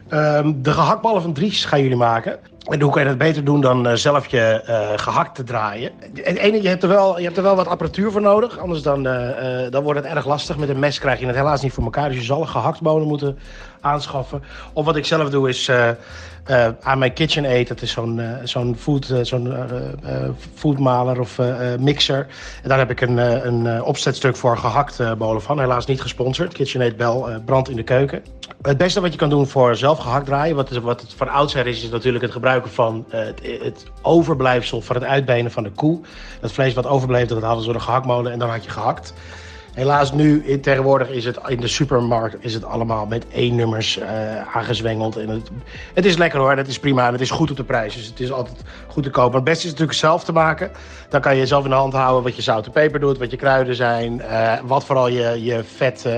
Speaker 6: ehm, de gehaktballen van Dries gaan jullie maken. En hoe kan je dat beter doen dan eh, zelf je eh, gehakt te draaien? Het ene, je hebt, er wel, je hebt er wel wat apparatuur voor nodig, anders dan, eh, eh, dan wordt het erg lastig. Met een mes krijg je het helaas niet voor elkaar, dus je zal gehaktbonen moeten aanschaffen. Of wat ik zelf doe is eh, eh, aan mijn kitchen aid, dat is zo'n eh, zo'n food, eh, zo'n eh, eh, foodmaler of eh, eh, mixer. En daar heb ik een, eh, een eh, opzetstuk voor gehakt eh, bolen van. Helaas niet gesponsord. KitchenAid Bel, eh, brand in de keuken. Het beste wat je kan doen voor zelf gehakt draaien, wat, het- wat het van oudsher is, is natuurlijk het gebruik gebruiken van eh, het, het overblijfsel van het uitbenen van de koe. Dat vlees wat overbleef, dat hadden ze door de gehaktmolen en dan had je gehakt. Helaas nu, in, tegenwoordig is het in de supermarkt is het allemaal met E-nummers eh, aangezwengeld. En het, het is lekker hoor, en het is prima en het is goed op de prijs. Dus het is altijd goed te koop. Maar het beste is natuurlijk zelf te maken. Dan kan je zelf in de hand houden wat je zout en peper doet, wat je kruiden zijn. eh, wat vooral je, je vet, eh,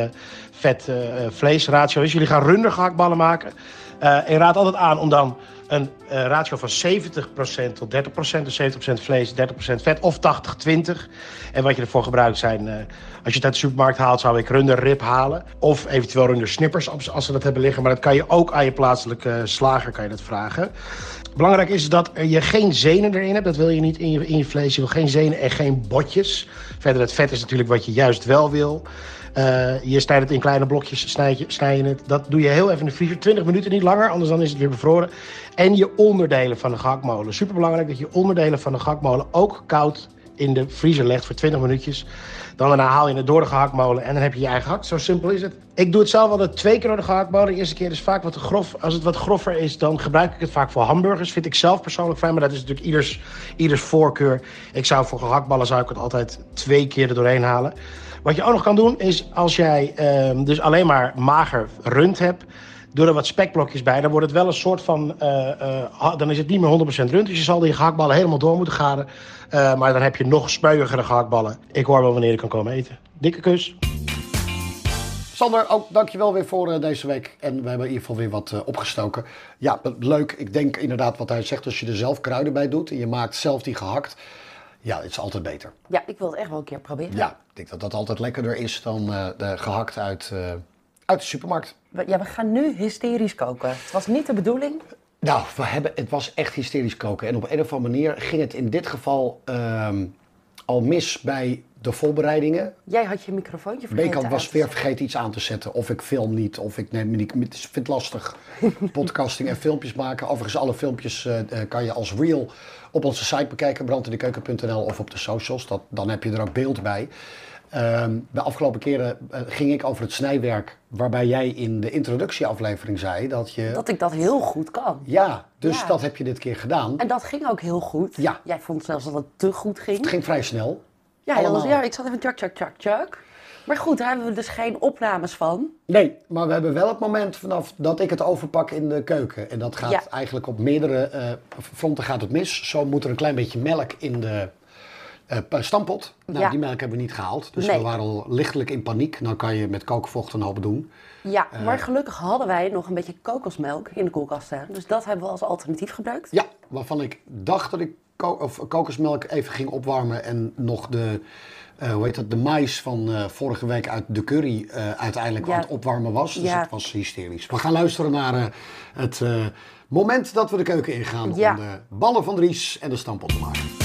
Speaker 6: vet eh, vleesratio is. Jullie gaan runder gehaktballen maken. Eh, en raad altijd aan om dan een eh, ratio van 70% tot 30%. Dus 70% vlees, 30% vet of 80-20. En wat je ervoor gebruikt zijn... eh, als je het uit de supermarkt haalt, zou ik runderrib halen. Of eventueel rundersnippers als, als ze dat hebben liggen. Maar dat kan je ook aan je plaatselijke eh, slager kan je dat vragen. Belangrijk is dat er je geen zenen erin hebt. Dat wil je niet in je, in je vlees. Je wil geen zenen en geen botjes. Verder, het vet is natuurlijk wat je juist wel wil. Eh, je snijdt het in kleine blokjes, snijd je, snij je het. Dat doe je heel even in de vriezer. 20 minuten, niet langer, anders dan is het weer bevroren. En je onderdelen van de gehaktmolen. Superbelangrijk dat je onderdelen van de gehaktmolen ook koud in de vriezer legt voor 20 minuutjes. Dan daarna haal je het door de gehaktmolen en dan heb je je eigen hakt. Zo simpel is het. Ik doe het zelf altijd twee keer door de gehaktmolen. De eerste keer is vaak wat te grof. Als het wat grover is, dan gebruik ik het vaak voor hamburgers. Vind ik zelf persoonlijk fijn, maar dat is natuurlijk ieders, ieders voorkeur. Ik zou voor gehaktballen zou ik het altijd twee keer er doorheen halen. Wat je ook nog kan doen, is als jij ehm, dus alleen maar mager rund hebt... Doe er wat spekblokjes bij, dan wordt het wel een soort van. eh, eh, ha- dan is het niet meer 100% rund. Dus je zal die gehaktballen helemaal door moeten garen. Eh, maar dan heb je nog spuigere gehaktballen. Ik hoor wel wanneer ik kan komen eten. Dikke kus.
Speaker 2: Sander, ook dankjewel weer voor eh, deze week. En we hebben in ieder geval weer wat eh, opgestoken. Ja, eh, leuk. Ik denk inderdaad wat hij zegt. Als je er zelf kruiden bij doet en je maakt zelf die gehakt. Ja, het is altijd beter.
Speaker 1: Ja, ik wil het echt wel een keer proberen.
Speaker 2: Ja, ik denk dat dat altijd lekkerder is dan eh, de gehakt uit, eh, uit de supermarkt.
Speaker 1: We, ja, we gaan nu hysterisch koken. Het was niet de bedoeling.
Speaker 2: Nou, we hebben, het was echt hysterisch koken. En op een of andere manier ging het in dit geval ehm, al mis bij de voorbereidingen.
Speaker 1: Jij had je microfoontje vergeten.
Speaker 2: Bekant
Speaker 1: aan
Speaker 2: was
Speaker 1: te
Speaker 2: weer
Speaker 1: zetten.
Speaker 2: vergeten iets aan te zetten. Of ik film niet, of ik neem me niet. Ik vind het lastig. Podcasting en filmpjes maken. Overigens, alle filmpjes eh, eh, kan je als reel op onze site bekijken. brandindekeuken.nl of op de socials. Dat, dan heb je er ook beeld bij. Ehm, de afgelopen keren eh, ging ik over het snijwerk. Waarbij jij in de introductieaflevering zei dat je...
Speaker 1: Dat ik dat heel goed kan.
Speaker 2: Ja, dus
Speaker 1: Ja.
Speaker 2: dat heb je dit keer gedaan.
Speaker 1: En dat ging ook heel goed.
Speaker 2: Ja.
Speaker 1: Jij vond zelfs dat het te goed ging.
Speaker 2: Het ging vrij snel.
Speaker 1: ja, dat was-
Speaker 2: allemaal.
Speaker 1: ja, ik zat even tjak, tjak, tjak, tjak. Maar goed, daar hebben we dus geen opnames van.
Speaker 2: Nee, maar we hebben wel het moment vanaf dat ik het overpak in de keuken. En dat gaat
Speaker 1: Ja.
Speaker 2: eigenlijk op meerdere eh, fronten gaat het mis. Zo moet er een klein beetje melk in de eh, pa- stamppot. Nou,
Speaker 1: Ja.
Speaker 2: die melk hebben we niet gehaald. Dus
Speaker 1: Nee.
Speaker 2: we waren al lichtelijk in paniek. Dan kan je met kookvocht een hoop doen.
Speaker 1: Ja,
Speaker 2: Eh.
Speaker 1: maar gelukkig hadden wij nog een beetje kokosmelk in de koelkast staan. Dus dat hebben we als alternatief gebruikt.
Speaker 2: Ja, waarvan ik dacht dat ik ko- of kokosmelk even ging opwarmen. En nog de, eh, hoe heet dat, de mais van eh, vorige week uit de curry eh, uiteindelijk
Speaker 1: Ja.
Speaker 2: aan het opwarmen was. Dus
Speaker 1: Ja.
Speaker 2: het was hysterisch. We gaan luisteren naar eh, het eh, moment dat we de keuken ingaan
Speaker 1: Ja.
Speaker 2: om de ballen van Dries en de stamppot te maken.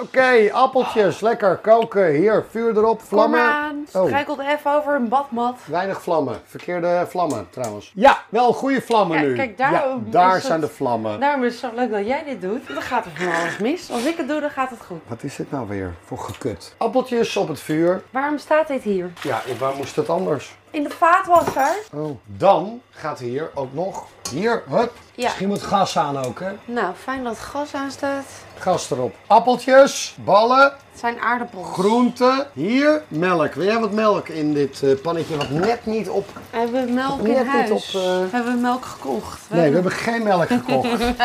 Speaker 2: Oké, appeltjes, lekker koken. Hier, vuur erop, vlammen. Oh,
Speaker 1: Kom aan, strijkelt even over een badmat.
Speaker 2: Weinig vlammen. Verkeerde vlammen trouwens. Ja, wel goede vlammen
Speaker 1: Ja,
Speaker 2: nu.
Speaker 1: kijk, daar
Speaker 2: Ja,
Speaker 1: is
Speaker 2: daar
Speaker 1: het-
Speaker 2: zijn de vlammen.
Speaker 1: Daarom is Nou, het zo leuk dat jij dit doet. Dan gaat er van alles mis. Als ik het doe, dan gaat het goed.
Speaker 2: Wat is dit nou weer voor gekut? Appeltjes op het vuur.
Speaker 1: Waarom staat dit hier?
Speaker 2: Ja, waar moest het anders?
Speaker 1: In de vaatwasser?
Speaker 2: Oh. Dan gaat hier ook nog. Hier, hup.
Speaker 1: Ja.
Speaker 2: Misschien moet gas aan ook, hè?
Speaker 1: Nou, fijn dat het gas aan staat.
Speaker 2: Gas erop. Appeltjes, ballen,
Speaker 1: Het zijn aardappels.
Speaker 2: groenten. Hier, melk. Wil jij wat melk in dit eh, pannetje wat net niet op...
Speaker 1: We hebben melk
Speaker 2: Net
Speaker 1: in
Speaker 2: niet
Speaker 1: huis.
Speaker 2: op, eh,
Speaker 1: We hebben melk gekocht. We
Speaker 2: Nee, we
Speaker 1: hebben-
Speaker 2: hebben geen melk gekocht.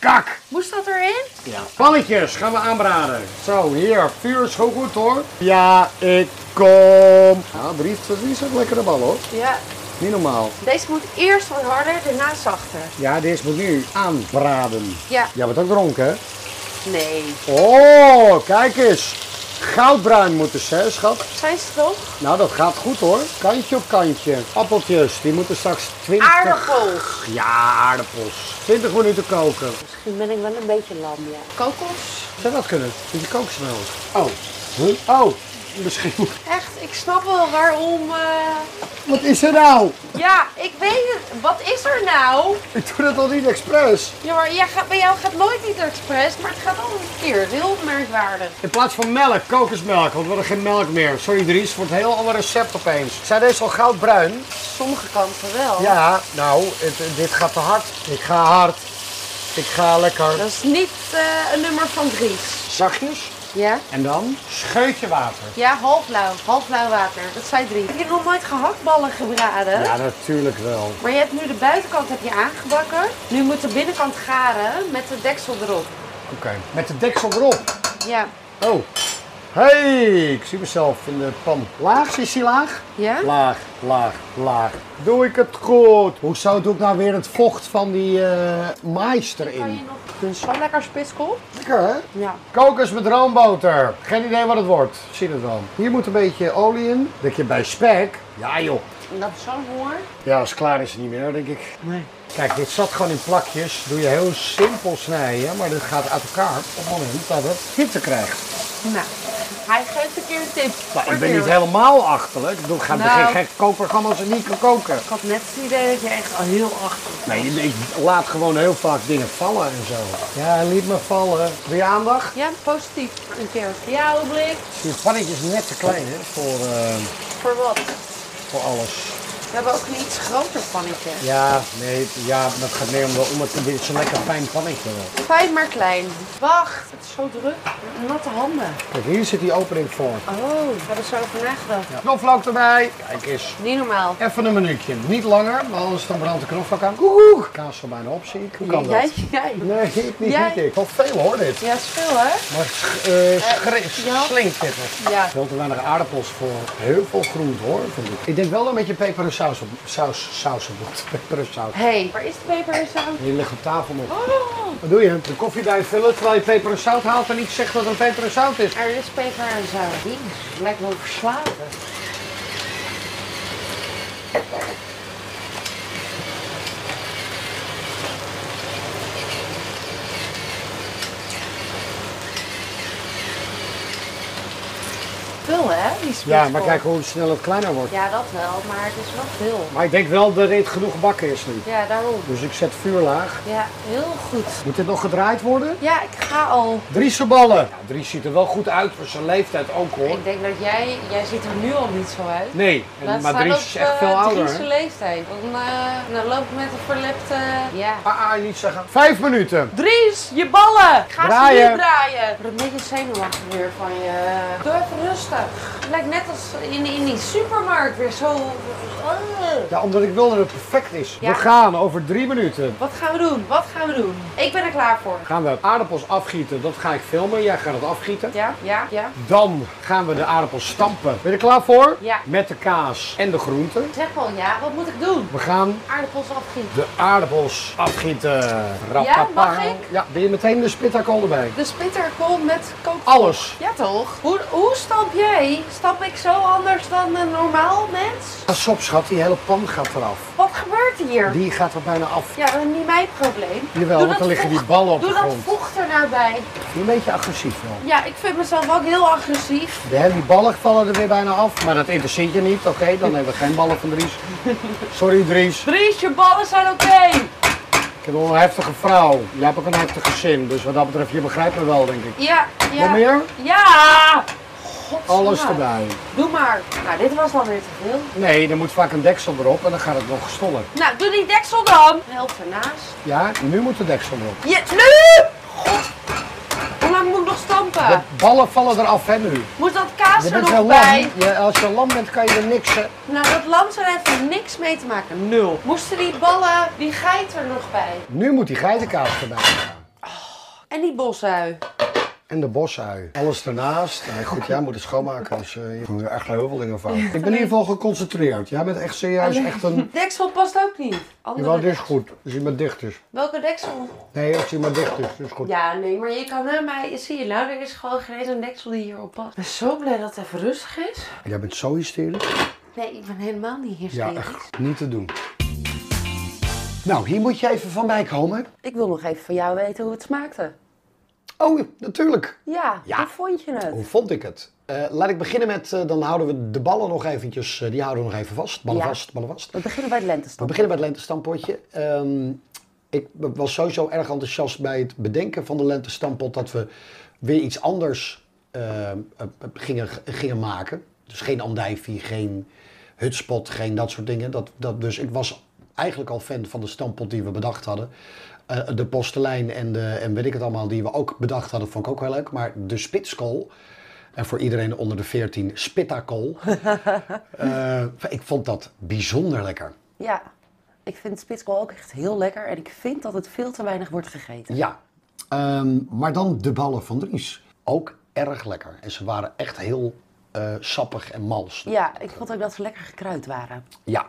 Speaker 2: Kak!
Speaker 1: Moest dat erin?
Speaker 2: Ja. Pannetjes gaan we aanbraden. Zo, hier. Vuur is gewoon goed, hoor. Ja, ik kom. Nou, Ja, drie, drie zijn lekkere ballen, hoor.
Speaker 1: Ja.
Speaker 2: Niet normaal.
Speaker 1: Deze moet eerst wat harder, daarna zachter.
Speaker 2: Ja, deze moet nu aanbraden.
Speaker 1: Ja.
Speaker 2: Jij bent ook dronken, hè?
Speaker 1: Nee.
Speaker 2: Oh, kijk eens. Goudbruin moeten ze, hè, schat?
Speaker 1: Zijn ze toch?
Speaker 2: Nou, dat gaat goed, hoor. Kantje op kantje. Appeltjes, die moeten straks 20...
Speaker 1: Aardappels.
Speaker 2: Ja, aardappels. 20 minuten koken.
Speaker 1: Misschien ben ik wel een beetje lam, ja. Kokos?
Speaker 2: Zou dat kunnen? Met die kooksnel. Oh. Huh? Oh, misschien.
Speaker 1: Echt, ik snap wel waarom... eh,
Speaker 2: Wat is er nou?
Speaker 1: Ja, ik weet het.
Speaker 7: Wat is er nou?
Speaker 2: Ik doe dat al niet expres.
Speaker 7: Ja, maar jij gaat, bij jou gaat nooit iets expres, maar het gaat altijd verkeerd. Heel merkwaardig.
Speaker 2: In plaats van melk, kokosmelk, want we hadden geen melk meer. Sorry Dries, voor het heel ander recept opeens. Zijn deze al goudbruin?
Speaker 7: Sommige kanten wel.
Speaker 2: Ja, nou, het- dit gaat te hard. Ik ga hard. Ik ga lekker.
Speaker 7: Dat is niet eh, een nummer van Dries.
Speaker 2: Zachtjes.
Speaker 7: Ja?
Speaker 2: En dan? Scheutje water.
Speaker 7: Ja, halfblauw. Halfblauw water. Dat zei Dries. Ik heb nog nooit gehaktballen gebraden.
Speaker 2: Ja, natuurlijk wel.
Speaker 7: Maar je hebt nu de buitenkant heb je aangebakken. Nu moet de binnenkant garen met de deksel erop.
Speaker 2: Oké. Met de deksel erop.
Speaker 7: Ja.
Speaker 2: Oh. Hey, ik zie mezelf in de pan. Laag, is die laag?
Speaker 7: Ja?
Speaker 2: Laag, laag, laag. Doe ik het goed? Hoezo doe ik nou weer het vocht van die eh mais
Speaker 7: Kan je
Speaker 2: erin?
Speaker 7: nog een zo lekker spitskool?
Speaker 2: Lekker hè?
Speaker 7: Ja.
Speaker 2: Kokos met roomboter. Geen idee wat het wordt. Ik Zie het wel. Hier moet een beetje olie in. Denk je bij spek? Ja joh.
Speaker 7: En dat is zo'n honger.
Speaker 2: Ja, als het klaar is het niet meer, denk ik. Nee. Kijk, dit zat gewoon in plakjes. Doe je heel simpel snijden, maar dit gaat uit elkaar op het moment dat het hitte krijgt.
Speaker 7: Nou, hij geeft een keer een tip.
Speaker 2: Nou, ik ben niet helemaal achterlijk. Ik bedoel, ik ga
Speaker 7: Nou.
Speaker 2: geen gek kookprogramma als ik niet kan koken.
Speaker 7: Ik had net het idee dat je echt al heel achter.
Speaker 2: Nee, ik laat gewoon heel vaak dingen vallen en zo. Ja, hij liet me vallen. Wil je aandacht?
Speaker 7: Ja, positief. Een keer voor jouw blik.
Speaker 2: Zie je, het pannetje is net te klein hè, voor, eh,
Speaker 7: Voor wat?
Speaker 2: voor alles.
Speaker 7: We hebben ook een iets groter pannetje.
Speaker 2: Ja, nee, ja, dat gaat meer om, de- om het dit is een lekker fijn pannetje. wel.
Speaker 7: Fijn maar klein. Wacht, het is zo druk. Natte handen.
Speaker 2: Kijk, hier zit die opening voor.
Speaker 7: Oh, we hebben zo over nagedacht.
Speaker 2: Knoflook erbij. Kijk eens.
Speaker 7: Niet normaal.
Speaker 2: Even een minuutje. Niet langer, maar anders dan brandt de knoflook aan. Koekoek. Kaas van bijna op, zie ik. Hoe kan
Speaker 7: jij,
Speaker 2: dat?
Speaker 7: jij.
Speaker 2: Nee, ik niet,
Speaker 7: Jij-
Speaker 2: niet ik. Wel veel hoor dit.
Speaker 7: Ja, is veel hè?
Speaker 2: Maar sch- eh, schri-
Speaker 7: ja.
Speaker 2: slinkt dit er.
Speaker 7: Ja.
Speaker 2: Veel te weinig aardappels voor heel veel groente hoor, vind ik. Ik denk wel een beetje peper en saus op. Saus, saus op. Peper en saus.
Speaker 7: Hé, hey, waar is de peper en zout?
Speaker 2: Hier ligt op tafel nog.
Speaker 7: Oh,
Speaker 2: Wat doe je? De koffie bij vullen terwijl je peper en zout haalt en niet zegt dat het peper en zout is.
Speaker 7: er is peper en zout. Jezus, lijkt wel verslagen. Veel hè, die
Speaker 2: Ja, maar
Speaker 7: spitskool.
Speaker 2: kijk hoe snel het kleiner wordt.
Speaker 7: Ja, dat wel, maar het is wel veel.
Speaker 2: Maar ik denk wel dat dit genoeg bakken is nu.
Speaker 7: Ja, daarom.
Speaker 2: Dus ik zet vuur laag.
Speaker 7: Ja, heel goed.
Speaker 2: Moet dit nog gedraaid worden?
Speaker 7: Ja, ik ga al.
Speaker 2: Driese ballen. Ja, Dries ziet er wel goed uit voor zijn leeftijd ook hoor.
Speaker 7: Ik denk dat jij, jij ziet er nu al niet zo uit.
Speaker 2: Nee,
Speaker 7: Laat
Speaker 2: en, maar
Speaker 7: staan
Speaker 2: Dries is
Speaker 7: op,
Speaker 2: echt
Speaker 7: eh,
Speaker 2: veel ouder.
Speaker 7: Dries'
Speaker 2: hè?
Speaker 7: leeftijd. Dan, eh, dan loop ik met een verlepte... Ja.
Speaker 2: Ah, ah, niet zeggen. Vijf minuten.
Speaker 7: Dries, je ballen! Ga
Speaker 2: Draaien.
Speaker 7: ze niet draaien! Ik word een beetje zenuwachtig weer van je. Doe even rustig. Het lijkt net als in, in die supermarkt weer zo... Eh.
Speaker 2: Ja, omdat ik wil dat het perfect is.
Speaker 7: Ja.
Speaker 2: We gaan over drie minuten.
Speaker 7: Wat gaan we doen? Wat gaan we doen? Ik ben er klaar voor.
Speaker 2: Gaan we aardappels afgieten. Dat ga ik filmen. Jij gaat het afgieten.
Speaker 7: Ja, ja, ja.
Speaker 2: Dan gaan we de aardappels stampen. Ben je er klaar voor?
Speaker 7: Ja.
Speaker 2: Met de kaas en de groenten.
Speaker 7: Zeg wel ja, wat moet ik doen?
Speaker 2: We gaan
Speaker 7: Aardappels afgieten.
Speaker 2: de aardappels afgieten.
Speaker 7: Ja, mag
Speaker 2: Rapapa.
Speaker 7: ik?
Speaker 2: Ja, ben je meteen de spitakool erbij?
Speaker 7: De spitterkool met kook...
Speaker 2: Alles.
Speaker 7: Ja toch? Hoe, hoe stap jij? Stap ik zo anders dan een normaal mens?
Speaker 2: Pas op schat, die hele pan gaat eraf.
Speaker 7: Wat gebeurt hier?
Speaker 2: Die gaat er bijna af.
Speaker 7: Ja, dat is niet mijn probleem.
Speaker 2: Jawel,
Speaker 7: Doe
Speaker 2: want
Speaker 7: dat
Speaker 2: dan liggen die
Speaker 7: vocht-
Speaker 2: ballen op
Speaker 7: Doe
Speaker 2: de
Speaker 7: dat
Speaker 2: grond.
Speaker 7: vocht er nou bij.
Speaker 2: Een beetje agressief wel.
Speaker 7: Ja, ik vind mezelf ook heel agressief.
Speaker 2: De hele ballen vallen er weer bijna af. Maar dat interesseert je niet. Oké, dan hebben we geen ballen van Dries. Sorry Dries.
Speaker 7: Dries, je ballen zijn oké.
Speaker 2: Ik heb wel een heftige vrouw. Jij hebt ook een heftige zin. Dus wat dat betreft, je begrijpt me wel, denk ik.
Speaker 7: Ja, ja.
Speaker 2: Nog meer?
Speaker 7: Ja!
Speaker 2: Alles
Speaker 7: Godsamme.
Speaker 2: erbij.
Speaker 7: Doe maar. Nou, dit was dan weer te veel.
Speaker 2: Nee, er moet vaak een deksel erop en dan gaat het nog gestoller.
Speaker 7: Nou, doe die deksel dan. Help ernaast.
Speaker 2: Ja, nu moet de deksel erop.
Speaker 7: Je, nu! God. Hoe lang moet ik nog stampen?
Speaker 2: De ballen vallen eraf, hè, nu.
Speaker 7: Moet dat kaas
Speaker 2: Je
Speaker 7: er
Speaker 2: bent wel
Speaker 7: nog
Speaker 2: lam.
Speaker 7: bij?
Speaker 2: Je, als je lam bent, kan je er niks... eh, hè.
Speaker 7: Nou, dat lam zou daar even niks mee te maken. Nul. Moesten die ballen, die geit er nog bij?
Speaker 2: Nu moet die geitenkaas erbij gaan.
Speaker 7: En die bosui.
Speaker 2: En de bosui. Alles ernaast. Nou, goed, jij moet het schoonmaken, dus eh, je moet er echt heel veel dingen van. Ik ben in ieder geval geconcentreerd. Jij bent echt serieus echt een...
Speaker 7: Deksel past ook niet. Andere
Speaker 2: Jawel, dit is
Speaker 7: deksel.
Speaker 2: goed. Als hij maar dicht is.
Speaker 7: Welke deksel?
Speaker 2: Nee, als hij maar dicht is, is goed.
Speaker 7: Ja, nee, maar je kan naar mij. Zie je, nou, er is gewoon geen eens een deksel die hierop past. Ik ben zo blij dat het even rustig is.
Speaker 2: Jij bent zo hysterisch.
Speaker 7: Nee, ik ben helemaal niet hier
Speaker 2: Ja, echt niet te doen. Nou, hier moet je even van mij komen.
Speaker 7: Ik wil nog even van jou weten hoe het smaakte.
Speaker 2: Oh, natuurlijk.
Speaker 7: Ja,
Speaker 2: Ja.
Speaker 7: hoe vond je het?
Speaker 2: Hoe vond ik het? Eh, Eh, laat ik beginnen met, eh, dan houden we de ballen nog eventjes, eh, die houden we nog even vast. Ballen
Speaker 1: Ja.
Speaker 2: vast, ballen vast.
Speaker 1: We beginnen bij het
Speaker 2: We
Speaker 1: lentestand.
Speaker 2: beginnen bij het lentestampotje. Ehm, ik was sowieso erg enthousiast bij het bedenken van de lentestampot dat we weer iets anders ehm, eh, gingen, gingen maken. Dus geen andijvie, geen hutspot, geen dat soort dingen. Dat, dat, dus ik was eigenlijk al fan van de stampot die we bedacht hadden. Eh, de postelijn en, de, en weet ik het allemaal, die we ook bedacht hadden, vond ik ook heel leuk. Maar de spitskool, en voor iedereen onder de 14, spittakool. eh, ik vond dat bijzonder lekker.
Speaker 1: Ja, ik vind spitskool ook echt heel lekker. En ik vind dat het veel te weinig wordt gegeten.
Speaker 2: Ja, Ehm, maar dan de ballen van Dries. Ook erg lekker. En ze waren echt heel eh, sappig en mals.
Speaker 1: Ja, ik vond ook dat ze lekker gekruid waren.
Speaker 2: Ja,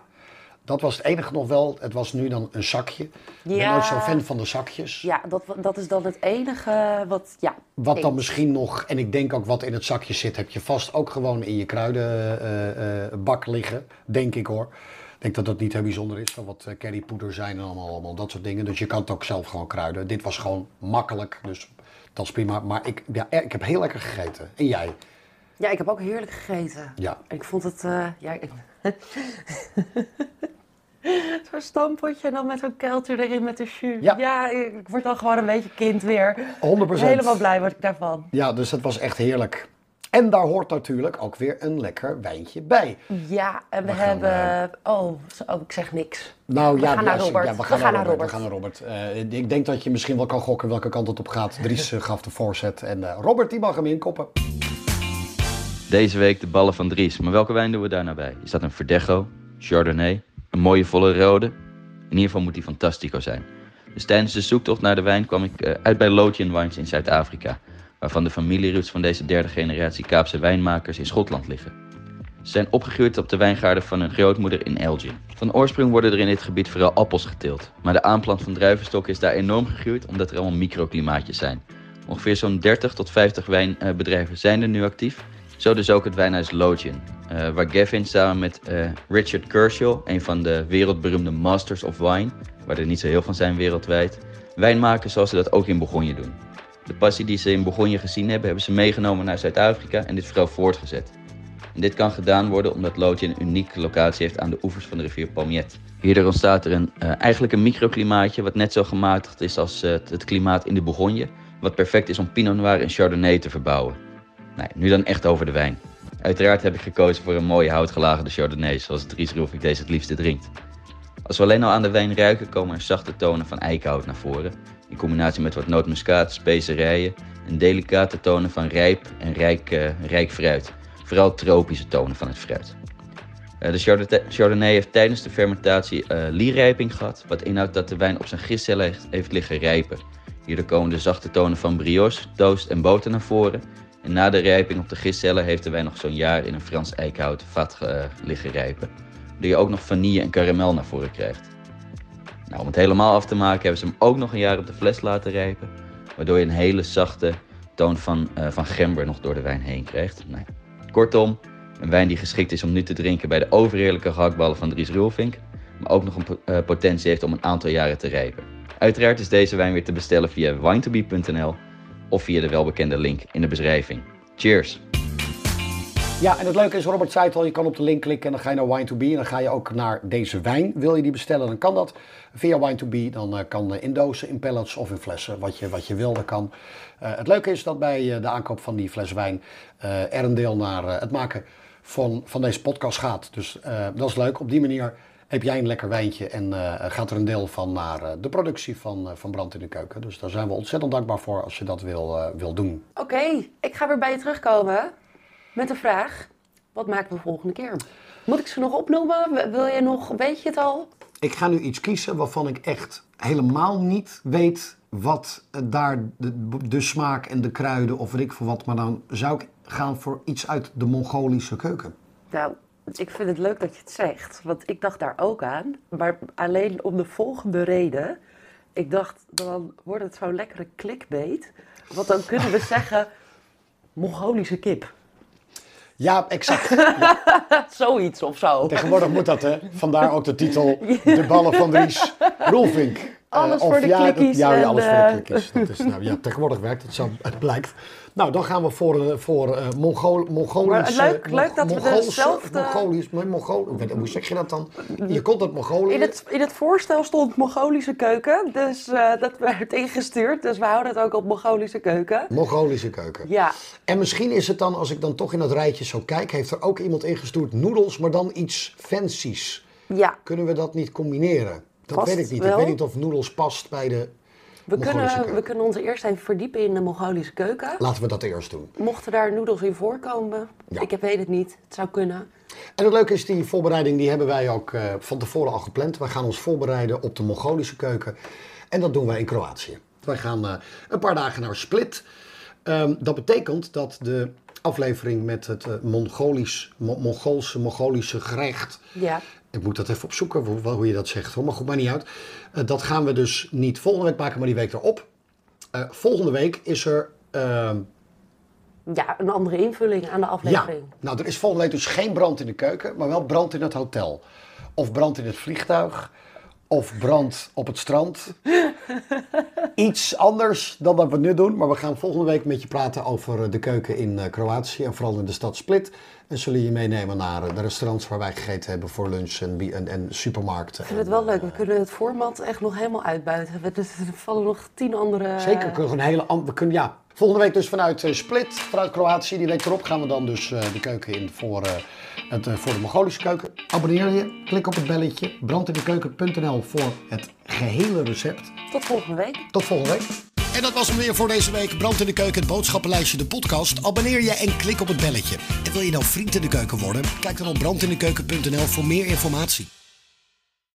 Speaker 2: dat was het enige nog wel. Het was nu dan een zakje. Ik ben
Speaker 1: Ja.
Speaker 2: nooit zo'n fan van de zakjes.
Speaker 1: Ja, dat, dat is dan het enige wat... Ja,
Speaker 2: Wat dan
Speaker 1: eens.
Speaker 2: misschien nog, en ik denk ook wat in het zakje zit, heb je vast ook gewoon in je kruidenbak liggen. Denk ik hoor. Ik denk dat dat niet heel bijzonder is, van wat eh, currypoeder zijn en allemaal, allemaal dat soort dingen. Dus je kan het ook zelf gewoon kruiden. Dit was gewoon makkelijk, dus dat is prima. Maar ik, ja, eh, ik heb heel lekker gegeten. En jij?
Speaker 1: Ja, ik heb ook heerlijk gegeten.
Speaker 2: Ja.
Speaker 1: Ik vond het... eh, ja, ik... Zo'n stampotje en dan met zo'n kuiltje erin met de jus.
Speaker 2: Ja.
Speaker 1: ik ik word dan gewoon een beetje kind weer.
Speaker 2: 100%.
Speaker 1: Helemaal blij word ik daarvan.
Speaker 2: Ja, dus dat was echt heerlijk. En daar hoort natuurlijk ook weer een lekker wijntje bij.
Speaker 1: Ja, en we,
Speaker 2: We gaan,
Speaker 1: hebben... Oh, zo- oh, ik zeg niks.
Speaker 2: Nou ja,
Speaker 1: gaan naar
Speaker 2: ja, ze-
Speaker 1: Robert.
Speaker 2: ja, we, gaan naar Robert. We gaan naar Robert. Eh, ik denk dat je misschien wel kan gokken welke kant het op gaat. Dries eh, gaf de voorzet en eh, Robert die mag hem inkoppen.
Speaker 8: Deze week de ballen van Dries. Maar welke wijn doen we daar nou bij? Is dat een Verdecho, Chardonnay, een mooie volle rode? In ieder geval moet die fantastico zijn. Dus tijdens de zoektocht naar de wijn kwam ik eh, uit bij Lothian Wines in Zuid-Afrika, waarvan de familieroots van deze derde generatie Kaapse wijnmakers in Schotland liggen. Ze zijn opgegroeid op de wijngaarden van hun grootmoeder in Elgin. Van oorsprong worden er in dit gebied vooral appels geteeld, maar de aanplant van druivenstokken is daar enorm gegroeid omdat er allemaal microklimaatjes zijn. Ongeveer zo'n 30 tot 50 wijnbedrijven zijn er nu actief. Zo dus ook het wijnhuis Lothian, eh, waar Gavin samen met eh, Richard Kershaw, een van de wereldberoemde Masters of Wine, waar er niet zo heel van zijn wereldwijd, wijn maken zoals ze dat ook in Bourgogne doen. De passie die ze in Bourgogne gezien hebben, hebben ze meegenomen naar Zuid-Afrika en dit vooral voortgezet. En dit kan gedaan worden omdat Lothian een unieke locatie heeft aan de oevers van de rivier Palmiet. Hierdoor ontstaat er een, eh, eigenlijk een microklimaatje wat net zo gematigd is als eh, het- het klimaat in de Bourgogne. Wat perfect is om Pinot Noir en Chardonnay te verbouwen. Nou, nu dan echt over de wijn. Uiteraard heb ik gekozen voor een mooie houtgelagerde Chardonnay, zoals Dries Roelvink deze het liefste drinkt. Als we alleen al aan de wijn ruiken, komen er zachte tonen van eikenhout naar voren. In combinatie met wat nootmuskaat, specerijen en delicate tonen van rijp en rijk, eh, rijk fruit. Vooral tropische tonen van het fruit. Eh, De Chardonnay- Chardonnay heeft tijdens de fermentatie eh lierijping gehad, wat inhoudt dat de wijn op zijn gistcellen heeft, heeft liggen rijpen. Hierdoor komen de zachte tonen van brioche, toast en boter naar voren. En na de rijping op de gistcellen heeft de wijn nog zo'n jaar in een Frans eikenhouten vat eh, liggen rijpen. Waardoor je ook nog vanille en karamel naar voren krijgt. Nou, om het helemaal af te maken hebben ze hem ook nog een jaar op de fles laten rijpen. Waardoor je een hele zachte toon van, eh van gember nog door de wijn heen krijgt. Nou, Kortom, een wijn die geschikt is om nu te drinken bij de overheerlijke gehaktballen van Dries Rulvink, maar ook nog een po- eh, potentie heeft om een aantal jaren te rijpen. Uiteraard is deze wijn weer te bestellen via winetobe.nl of via de welbekende link in de beschrijving. Cheers!
Speaker 2: Ja, en het leuke is, Robert zei het al, je kan op de link klikken en dan ga je naar Wine2Be. En dan ga je ook naar deze wijn. Wil je die bestellen, dan kan dat via Wine2Be. Dan eh, kan eh, in dozen, in pallets of in flessen, wat je, wat je wil, dat kan. Eh, het leuke is dat bij eh, de aankoop van die fles wijn eh, er een deel naar eh, het maken van, van deze podcast gaat. Dus eh, dat is leuk. Op die manier heb jij een lekker wijntje en eh, gaat er een deel van naar eh, de productie van, eh, van Brand in de Keuken. Dus daar zijn we ontzettend dankbaar voor als je dat wil, eh, wil doen.
Speaker 1: Oké, ik ga weer bij je terugkomen met de vraag. Wat maken we volgende keer? Moet ik ze nog opnoemen? W- Wil je nog, weet je het al?
Speaker 2: Ik ga nu iets kiezen waarvan ik echt helemaal niet weet wat eh, daar de, de smaak en de kruiden of weet ik voor wat. Maar dan zou ik gaan voor iets uit de Mongolische keuken.
Speaker 1: Nou, ik vind het leuk dat je het zegt, want ik dacht daar ook aan. Maar alleen om de volgende reden. Ik dacht, dan wordt het zo'n lekkere clickbait. Want dan kunnen we zeggen, Mongolische kip.
Speaker 2: Ja, exact.
Speaker 1: Zoiets of zo.
Speaker 2: Tegenwoordig moet dat, hè? Vandaar ook de titel De Ballen van Dries Roelvink.
Speaker 1: Alles voor de
Speaker 2: eh, ja, dat-
Speaker 1: klikkies
Speaker 2: Ja, ja,
Speaker 1: en
Speaker 2: alles
Speaker 1: de-
Speaker 2: voor de klikkies. Dat is, nou, ja, tegenwoordig werkt het zo, het blijkt. Nou, dan gaan we voor, eh, voor eh Mongool, Mongolische...
Speaker 1: Maar leuk- leuk dat we
Speaker 2: Mongoolse-
Speaker 1: dezelfde- Mm.
Speaker 2: Mongolisch, nee, Mongool, hoe- hoe zeg je dat dan? Je komt uit Mongolië.
Speaker 1: In het, in het voorstel stond Mongolische keuken, dus eh, dat werd ingestuurd. Dus we houden het ook op Mongolische keuken.
Speaker 2: Mongolische keuken.
Speaker 1: Ja,
Speaker 2: En misschien is het dan, als ik dan toch in dat rijtje zo kijk, heeft er ook iemand ingestuurd noedels, maar dan iets fancies.
Speaker 1: ja.
Speaker 2: Kunnen we dat niet combineren? Dat
Speaker 1: Past
Speaker 2: weet ik niet. Ik
Speaker 1: wel.
Speaker 2: weet niet of noedels past bij de...
Speaker 1: We,
Speaker 2: Mongolische
Speaker 1: kunnen,
Speaker 2: keuken.
Speaker 1: we kunnen ons eerst even verdiepen in de Mongolische keuken.
Speaker 2: Laten we dat eerst doen.
Speaker 1: Mochten daar noedels in voorkomen?
Speaker 2: Ja.
Speaker 1: Ik heb- weet het niet. Het zou kunnen.
Speaker 2: En het leuke is, die voorbereiding die hebben wij ook eh, van tevoren al gepland. Wij gaan ons voorbereiden op de Mongolische keuken. En dat doen wij in Kroatië. Wij gaan eh, een paar dagen naar Split. Ehm, dat betekent dat de aflevering met het eh, Mongolisch, Mo- Mongoolse, Mongolische gerecht...
Speaker 1: Ja.
Speaker 2: Ik moet dat even opzoeken, hoe, hoe je dat zegt hoor. Maar goed, maakt niet uit. Eh, dat gaan we dus niet volgende week maken, maar die week erop. Eh, volgende week is er... ehm,
Speaker 1: ja, een andere invulling aan de
Speaker 2: ja,
Speaker 1: aflevering.
Speaker 2: nou er is volgende week dus geen brand in de keuken, maar wel brand in het hotel. Of brand in het vliegtuig. Of brand op het strand. Iets anders dan dat we nu doen. Maar we gaan volgende week met je praten over eh, de keuken in eh, Kroatië. En vooral in de stad Split. En zullen je meenemen naar eh, de restaurants waar wij gegeten hebben voor lunch en, bi- en, en supermarkten.
Speaker 1: Ik vind het
Speaker 2: En,
Speaker 1: wel leuk. We kunnen het format echt nog helemaal uitbuiten. We- Er vallen nog tien andere...
Speaker 2: Zeker, we kunnen een hele an- we kunnen, ja. Volgende week dus vanuit eh, Split, vanuit Kroatië. Die week erop gaan we dan dus eh, de keuken in voor, eh, het, eh, voor de Mongolische keuken. Abonneer je, klik op het belletje, brandindekeuken.nl voor het gehele recept.
Speaker 1: Tot volgende week.
Speaker 2: Tot volgende week. En dat was hem weer voor deze week. Brand in de Keuken, het boodschappenlijstje, de podcast. Abonneer je en klik op het belletje. En wil je nou vriend in de keuken worden? Kijk dan op brandindekeuken.nl voor meer informatie.